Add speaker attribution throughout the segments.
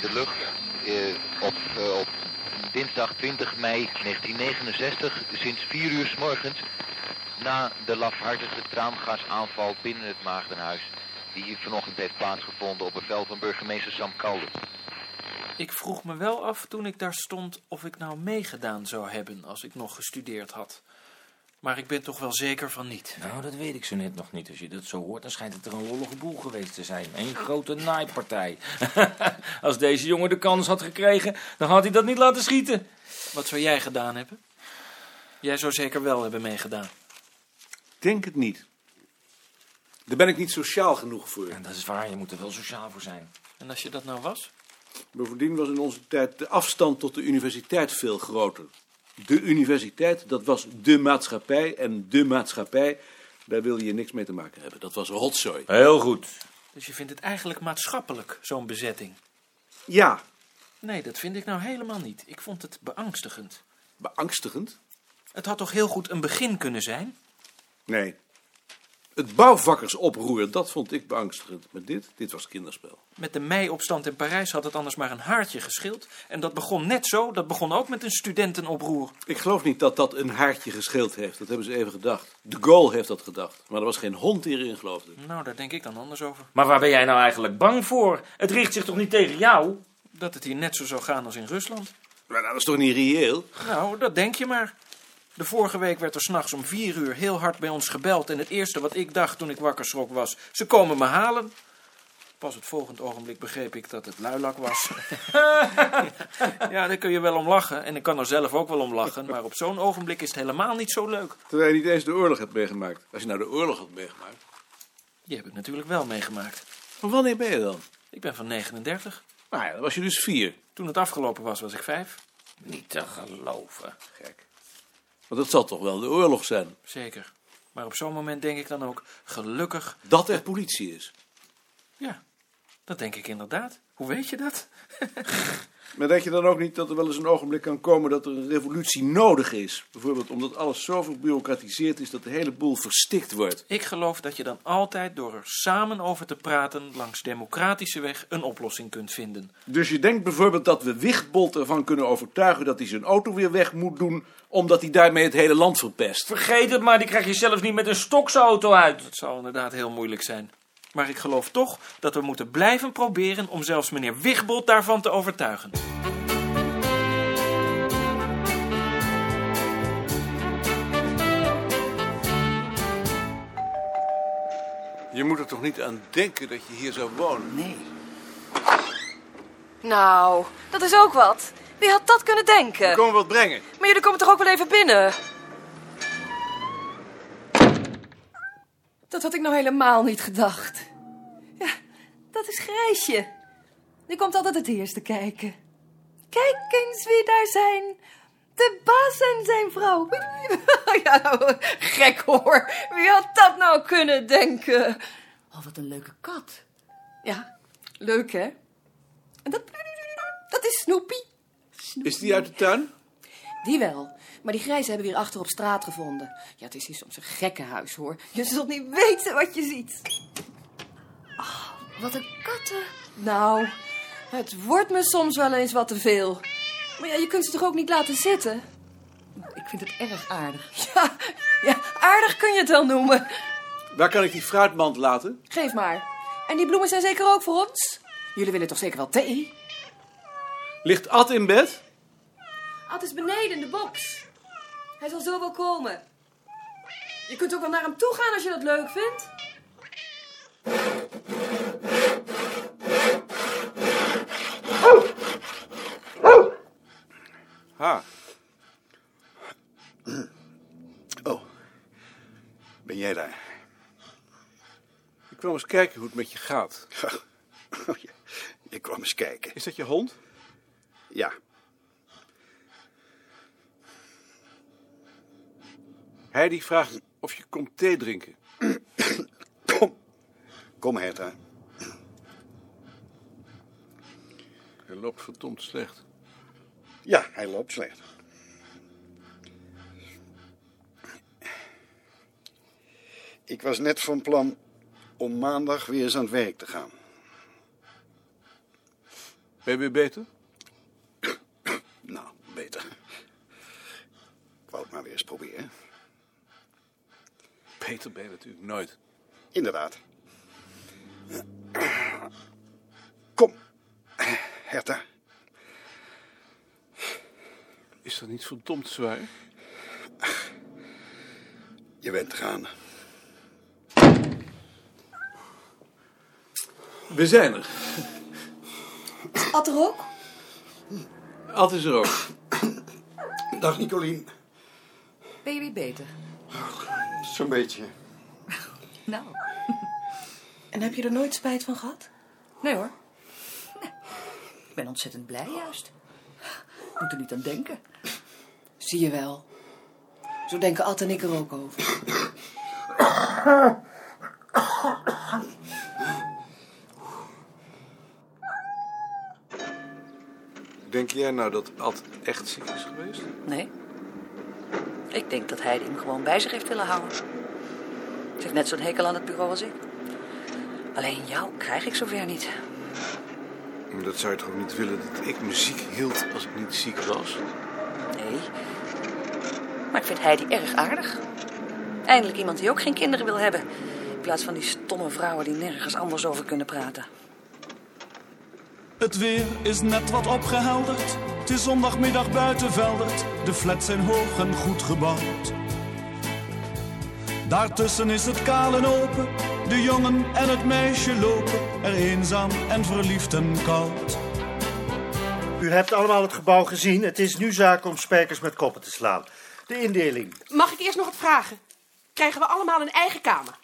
Speaker 1: de lucht eh, op, eh, op dinsdag 20 mei 1969 sinds 4 uur s morgens na de lafhartige traangasaanval binnen het Maagdenhuis die hier vanochtend heeft plaatsgevonden op bevel van burgemeester Sam Kouwen.
Speaker 2: Ik vroeg me wel af toen ik daar stond of ik nou meegedaan zou hebben als ik nog gestudeerd had. Maar ik ben toch wel zeker van niet.
Speaker 3: Nou, dat weet ik zo net nog niet. Als je dat zo hoort, dan schijnt het er een lollige boel geweest te zijn. Een grote naaipartij. Als deze jongen de kans had gekregen, dan had hij dat niet laten schieten.
Speaker 2: Wat zou jij gedaan hebben? Jij zou zeker wel hebben meegedaan.
Speaker 4: Denk het niet. Daar ben ik niet sociaal genoeg voor.
Speaker 3: En dat is waar, je moet er wel sociaal voor zijn.
Speaker 2: En als je dat nou was?
Speaker 4: Bovendien was in onze tijd de afstand tot de universiteit veel groter. De universiteit, dat was de maatschappij. En de maatschappij, daar wil je niks mee te maken hebben. Dat was rotzooi.
Speaker 3: Heel goed.
Speaker 2: Dus je vindt het eigenlijk maatschappelijk, zo'n bezetting?
Speaker 4: Ja,
Speaker 2: Nee, dat vind ik nou helemaal niet. Ik vond het beangstigend.
Speaker 4: beangstigend.
Speaker 2: Het had toch heel goed een begin kunnen zijn?
Speaker 4: Nee. Het bouwvakkersoproer, dat vond ik beangstigend. Maar dit, dit was kinderspel.
Speaker 2: Met de meiopstand in Parijs had het anders maar een haartje geschild. En dat begon net zo, dat begon ook met een studentenoproer.
Speaker 4: Ik geloof niet dat dat een haartje gescheeld heeft. Dat hebben ze even gedacht. De Gaulle heeft dat gedacht. Maar er was geen hond die erin geloofde.
Speaker 2: Nou, daar denk ik dan anders over.
Speaker 3: Maar waar ben jij nou eigenlijk bang voor? Het richt zich toch niet tegen jou?
Speaker 2: Dat het hier net zo zou gaan als in Rusland.
Speaker 4: Maar dat is toch niet reëel?
Speaker 2: Nou, dat denk je maar. De vorige week werd er s'nachts om vier uur heel hard bij ons gebeld. En het eerste wat ik dacht toen ik wakker schrok was: ze komen me halen. Pas het volgend ogenblik begreep ik dat het luilak was. ja, daar kun je wel om lachen. En ik kan er zelf ook wel om lachen. Maar op zo'n ogenblik is het helemaal niet zo leuk.
Speaker 4: Terwijl je niet eens de oorlog hebt meegemaakt. Als je nou de oorlog had meegemaakt.
Speaker 2: Die heb ik natuurlijk wel meegemaakt.
Speaker 4: Maar wanneer ben je dan?
Speaker 2: Ik ben van 39.
Speaker 4: Nou ja, dan was je dus vier.
Speaker 2: Toen het afgelopen was, was ik vijf.
Speaker 3: Niet te geloven.
Speaker 4: Gek. Want dat zal toch wel de oorlog zijn.
Speaker 2: Zeker. Maar op zo'n moment denk ik dan ook: gelukkig
Speaker 4: Dat er politie is.
Speaker 2: Ja, dat denk ik inderdaad. Hoe weet je dat?
Speaker 4: Maar denk je dan ook niet dat er wel eens een ogenblik kan komen dat er een revolutie nodig is? Bijvoorbeeld omdat alles zo verbureaucratiseerd is dat de hele boel verstikt wordt.
Speaker 2: Ik geloof dat je dan altijd door er samen over te praten langs democratische weg een oplossing kunt vinden.
Speaker 4: Dus je denkt bijvoorbeeld dat we Wichtbold ervan kunnen overtuigen dat hij zijn auto weer weg moet doen, omdat hij daarmee het hele land verpest.
Speaker 3: Vergeet het maar, die krijg je zelfs niet met een stoksauto uit.
Speaker 2: Dat zal inderdaad heel moeilijk zijn. Maar ik geloof toch dat we moeten blijven proberen om zelfs meneer Wigbold daarvan te overtuigen.
Speaker 4: Je moet er toch niet aan denken dat je hier zou wonen?
Speaker 5: Nee.
Speaker 6: Nou, dat is ook wat. Wie had dat kunnen denken?
Speaker 4: Kom wat brengen.
Speaker 6: Maar jullie komen toch ook wel even binnen? Dat had ik nou helemaal niet gedacht. Ja, dat is Grijsje. Die komt altijd het eerste kijken. Kijk eens wie daar zijn. De baas en zijn vrouw. Ja, nou, gek hoor. Wie had dat nou kunnen denken?
Speaker 5: Oh, wat een leuke kat.
Speaker 6: Ja, leuk hè? En dat, dat is Snoopy.
Speaker 4: Is die uit de tuin?
Speaker 5: Die wel. Maar die grijze hebben we hier achter op straat gevonden. Ja, het is hier soms een gekkenhuis, hoor.
Speaker 6: Je zult niet weten wat je ziet.
Speaker 5: Oh, Wat een katten.
Speaker 6: Nou, het wordt me soms wel eens wat te veel. Maar ja, je kunt ze toch ook niet laten zitten? Nou,
Speaker 5: Ik vind het erg aardig.
Speaker 6: Ja, ja aardig kun je het wel noemen.
Speaker 4: Waar kan ik die fruitmand laten?
Speaker 6: Geef maar. En die bloemen zijn zeker ook voor ons?
Speaker 5: Jullie willen toch zeker wel thee?
Speaker 4: Ligt Ad in bed?
Speaker 6: Ad is beneden in de box. Hij zal zo wel komen. Je kunt ook wel naar hem toe gaan als je dat leuk vindt.
Speaker 4: Ha.
Speaker 7: Oh, ben jij daar?
Speaker 4: Ik kwam eens kijken hoe het met je gaat.
Speaker 7: Oh, je, je kwam eens kijken.
Speaker 4: Is dat je hond?
Speaker 7: Ja,
Speaker 4: Heidi vraagt of je komt thee drinken.
Speaker 7: kom. Kom, Herta.
Speaker 4: Hij loopt verdomd slecht.
Speaker 7: Ja, hij loopt slecht. Ik was net van plan om maandag weer eens aan het werk te gaan.
Speaker 4: Ben je weer beter?
Speaker 7: Nou, beter. Ik wou het maar weer eens proberen.
Speaker 4: Beter ben je natuurlijk nooit.
Speaker 7: Inderdaad. Kom, Herta.
Speaker 4: Is dat niet verdomd zwaar?
Speaker 7: Je bent gaan.
Speaker 4: We zijn er.
Speaker 8: Ad er ook?
Speaker 4: Ad is er ook.
Speaker 7: Dag Nicolien.
Speaker 8: Ben je weer beter?
Speaker 7: Zo'n beetje.
Speaker 8: Nou.
Speaker 5: En heb je er nooit spijt van gehad?
Speaker 8: Nee hoor. Nee. Ik ben ontzettend blij juist. Moet er niet aan denken.
Speaker 5: Zie je wel. Zo denken Ad en ik er ook over.
Speaker 4: Denk jij nou dat Ad echt ziek is geweest?
Speaker 9: Nee. Ik denk dat hij hem gewoon bij zich heeft willen houden. Ze heeft net zo'n hekel aan het bureau als ik. Alleen jou krijg ik zover niet.
Speaker 4: Dat zou je toch ook niet willen dat ik me ziek hield als ik niet ziek was?
Speaker 9: Nee. Maar ik vind Heidi erg aardig. Eindelijk iemand die ook geen kinderen wil hebben. In plaats van die stomme vrouwen die nergens anders over kunnen praten.
Speaker 10: Het weer is net wat opgehelderd. Het is zondagmiddag buitenvelderd. De flats zijn hoog en goed gebouwd. Daartussen is het kaal en open. De jongen en het meisje lopen er eenzaam en verliefd en koud.
Speaker 3: U hebt allemaal het gebouw gezien. Het is nu zaak om spijkers met koppen te slaan. De indeling.
Speaker 6: Mag ik eerst nog wat vragen? Krijgen we allemaal een eigen kamer?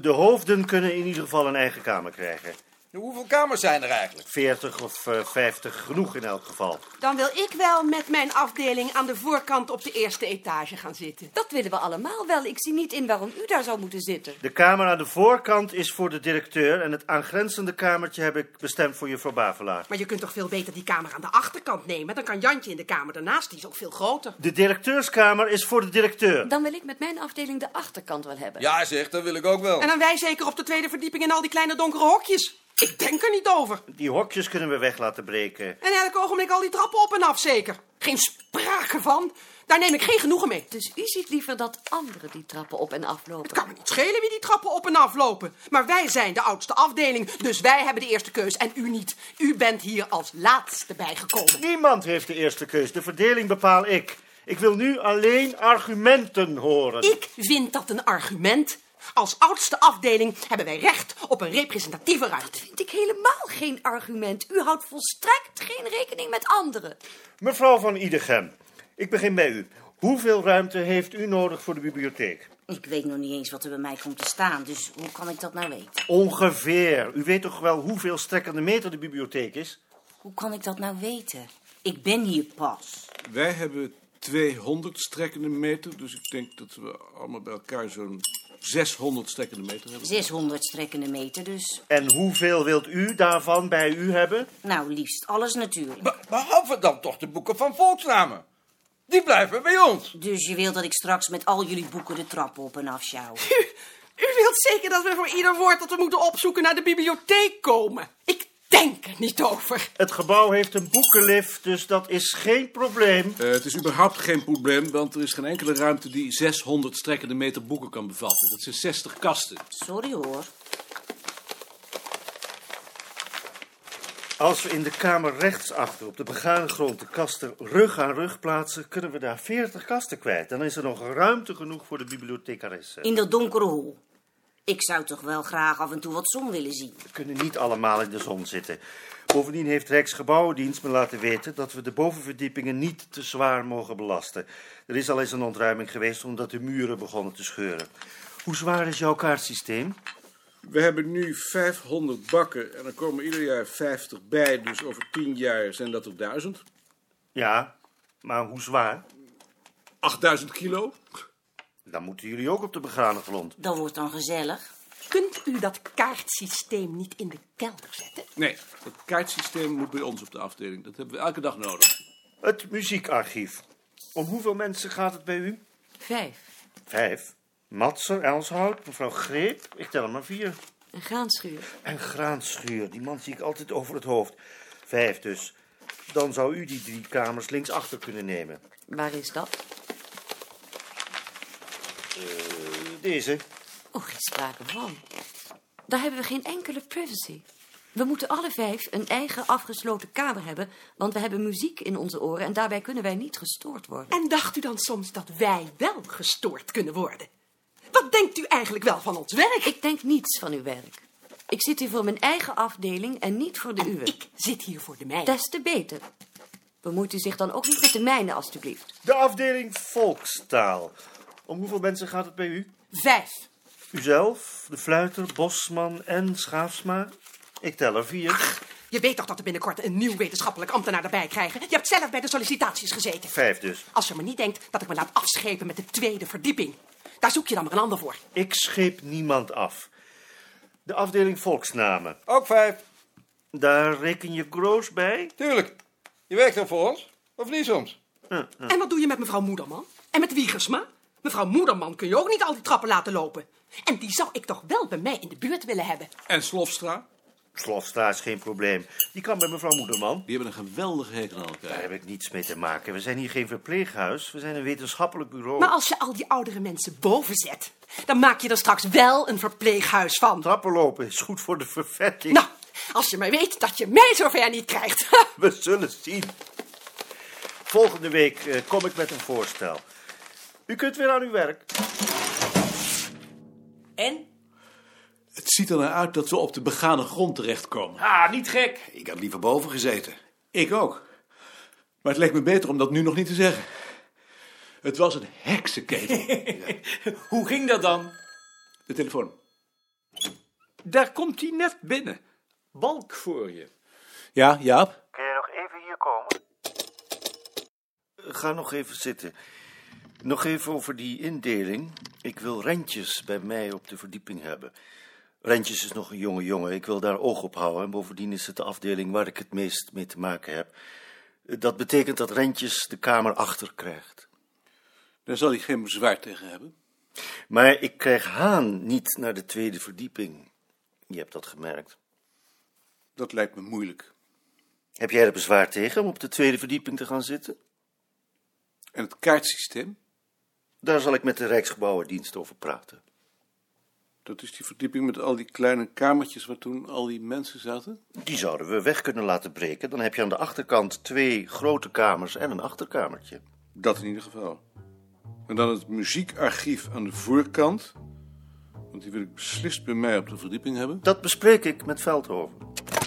Speaker 3: De hoofden kunnen in ieder geval een eigen kamer krijgen.
Speaker 11: Hoeveel kamers zijn er eigenlijk?
Speaker 3: 40 of eh, 50 genoeg in elk geval.
Speaker 6: Dan wil ik wel met mijn afdeling aan de voorkant op de eerste etage gaan zitten.
Speaker 8: Dat willen we allemaal wel. Ik zie niet in waarom u daar zou moeten zitten.
Speaker 3: De kamer aan de voorkant is voor de directeur en het aangrenzende kamertje heb ik bestemd voor juffrouw Bavelaar.
Speaker 6: Maar je kunt toch veel beter die kamer aan de achterkant nemen? Dan kan Jantje in de kamer daarnaast, die is ook veel groter.
Speaker 3: De directeurskamer is voor de directeur.
Speaker 8: Dan wil ik met mijn afdeling de achterkant wel hebben.
Speaker 11: Ja, zeg, dat wil ik ook wel.
Speaker 6: En dan wij zeker op de tweede verdieping in al die kleine donkere hokjes. Ik denk er niet over.
Speaker 3: Die hokjes kunnen we weg laten breken.
Speaker 6: En elk ogenblik al die trappen op en af zeker. Geen sprake van. Daar neem ik geen genoegen mee.
Speaker 8: Dus u ziet liever dat anderen die trappen op en
Speaker 6: Het
Speaker 8: aflopen.
Speaker 6: kan me niet schelen wie die trappen op en af lopen. Maar wij zijn de oudste afdeling, dus wij hebben de eerste keus en u niet. U bent hier als laatste bijgekomen.
Speaker 3: Niemand heeft de eerste keus. De verdeling bepaal ik. Ik wil nu alleen argumenten horen.
Speaker 6: Ik vind dat een argument. Als oudste afdeling hebben wij recht op een representatieve ruimte.
Speaker 8: vind ik helemaal geen argument. U houdt volstrekt geen rekening met anderen.
Speaker 3: Mevrouw van Idegem, ik begin bij u. Hoeveel ruimte heeft u nodig voor de bibliotheek?
Speaker 9: Ik weet nog niet eens wat er bij mij komt te staan, dus hoe kan ik dat nou weten?
Speaker 3: Ongeveer. U weet toch wel hoeveel strekkende meter de bibliotheek is?
Speaker 9: Hoe kan ik dat nou weten? Ik ben hier pas.
Speaker 4: Wij hebben 200 strekkende meter, dus ik denk dat we allemaal bij elkaar zo'n 600 strekkende meter hebben.
Speaker 9: 600 strekkende meter, dus
Speaker 3: En hoeveel wilt u daarvan bij u hebben?
Speaker 9: nou liefst alles natuurlijk.
Speaker 11: Be- behalve dan toch de boeken van volksnamen. Die blijven bij ons.
Speaker 9: Dus je wilt dat ik straks met al jullie boeken de trap op en af sjouw.
Speaker 6: U wilt zeker dat we voor ieder woord dat we moeten opzoeken naar de bibliotheek komen. Ik denk er niet over.
Speaker 3: Het gebouw heeft een boekenlift, dus dat is geen probleem.
Speaker 4: Eh, het is überhaupt geen probleem, want er is geen enkele ruimte die 600 strekkende meter boeken kan bevatten. Dat zijn 60 kasten.
Speaker 9: Sorry hoor.
Speaker 3: Als we in de kamer rechtsachter op de begane grond de kasten rug aan rug plaatsen, kunnen we daar 40 kasten kwijt. Dan is er nog ruimte genoeg voor de bibliothecaresse.
Speaker 9: In dat donkere hol. Ik zou toch wel graag af en toe wat zon willen zien.
Speaker 3: We kunnen niet allemaal in de zon zitten. Bovendien heeft Rijksgebouwendienst me laten weten dat we de bovenverdiepingen niet te zwaar mogen belasten. Er is al eens een ontruiming geweest omdat de muren begonnen te scheuren. Hoe zwaar is jouw kaartsysteem?
Speaker 4: We hebben nu 500 bakken en er komen ieder jaar 50 bij, dus over 10 jaar zijn dat er 1000.
Speaker 3: Ja, maar hoe zwaar?
Speaker 4: 8000 kilo.
Speaker 3: Dan moeten jullie ook op de begane grond.
Speaker 9: Dat wordt dan gezellig.
Speaker 6: Kunt u dat kaartsysteem niet in de kelder zetten?
Speaker 4: Nee, dat kaartsysteem moet bij ons op de afdeling. Dat hebben we elke dag nodig.
Speaker 3: Het muziekarchief. Om hoeveel mensen gaat het bij u?
Speaker 5: Vijf.
Speaker 3: Vijf. Matser, Elshout, mevrouw Greep. Ik tel er maar vier.
Speaker 5: Een graanschuur.
Speaker 3: En graanschuur, die man zie ik altijd over het hoofd. Vijf dus. Dan zou u die drie kamers linksachter kunnen nemen.
Speaker 9: Waar is dat?
Speaker 3: Eh, deze.
Speaker 12: Oh, geen sprake van. Daar hebben we geen enkele privacy. We moeten alle vijf een eigen afgesloten kamer hebben, want we hebben muziek in onze oren en daarbij kunnen wij niet gestoord worden.
Speaker 6: En dacht u dan soms dat wij wel gestoord kunnen worden? Wat denkt u eigenlijk wel van ons werk?
Speaker 12: Ik denk niets van uw werk. Ik zit hier voor mijn eigen afdeling en niet voor de uwe. Ik
Speaker 6: zit hier voor de mijne.
Speaker 12: Des te beter. Bemoeit u zich dan ook niet met de mijne, alstublieft.
Speaker 3: De afdeling volkstaal. Om hoeveel mensen gaat het bij u?
Speaker 6: Vijf.
Speaker 3: Uzelf, de fluiter, Bosman en Schaafsma? Ik tel er vier.
Speaker 6: Je weet toch dat we binnenkort een nieuw wetenschappelijk ambtenaar erbij krijgen? Je hebt zelf bij de sollicitaties gezeten.
Speaker 3: Vijf dus.
Speaker 6: Als je maar niet denkt dat ik me laat afschepen met de tweede verdieping. Daar zoek je dan maar een ander voor.
Speaker 3: Ik scheep niemand af. De afdeling volksnamen.
Speaker 11: Ook vijf.
Speaker 3: Daar reken je Groos bij?
Speaker 11: Tuurlijk. Je werkt dan voor ons? Of niet soms?
Speaker 6: En wat doe je met mevrouw Moederman? En met Wiegersma? Mevrouw Moederman kun je ook niet al die trappen laten lopen. En die zou ik toch wel bij mij in de buurt willen hebben.
Speaker 11: En Slofstra?
Speaker 3: Slofstra is geen probleem. Die kan bij mevrouw Moederman. Die hebben een geweldige hekel aan elkaar. Daar heb ik niets mee te maken. We zijn hier geen verpleeghuis. We zijn een wetenschappelijk bureau.
Speaker 6: Maar als je al die oudere mensen boven zet, dan maak je er straks wel een verpleeghuis van.
Speaker 3: Trappen lopen is goed voor de vervetting.
Speaker 6: Nou, als je maar weet dat je mij zover niet krijgt.
Speaker 3: We zullen zien. Volgende week eh, kom ik met een voorstel. U kunt weer aan uw werk.
Speaker 9: En?
Speaker 4: Het ziet er naar uit dat we op de begane grond terechtkomen.
Speaker 13: Ah, niet gek.
Speaker 4: Ik had liever boven gezeten. Ik ook. Maar het leek me beter om dat nu nog niet te zeggen. Het was een heksenketel.
Speaker 13: Hoe ging dat dan?
Speaker 4: De telefoon.
Speaker 14: Daar komt hij net binnen. Balk voor je.
Speaker 4: Ja, Jaap?
Speaker 3: Kun je nog even hier komen? Ga nog even zitten. Nog even over die indeling. Ik wil Rentjes bij mij op de verdieping hebben. Rentjes is nog een jonge jongen. Ik wil daar oog op houden. En bovendien is het de afdeling waar ik het meest mee te maken heb. Dat betekent dat Rentjes de kamer achter krijgt.
Speaker 4: Daar zal hij geen bezwaar tegen hebben.
Speaker 3: Maar ik krijg Haan niet naar de tweede verdieping. Je hebt dat gemerkt.
Speaker 4: Dat lijkt me moeilijk.
Speaker 3: Heb jij er bezwaar tegen om op de tweede verdieping te gaan zitten?
Speaker 4: En het kaartsysteem?
Speaker 3: Daar zal ik met de Rijksgebouwendienst over praten.
Speaker 4: Dat is die verdieping met al die kleine kamertjes waar toen al die mensen zaten?
Speaker 3: Die zouden we weg kunnen laten breken. Dan heb je aan de achterkant twee grote kamers en een achterkamertje.
Speaker 4: Dat in ieder geval. En dan het muziekarchief aan de voorkant. Want die wil ik beslist bij mij op de verdieping hebben.
Speaker 3: Dat bespreek ik met Veldhoven.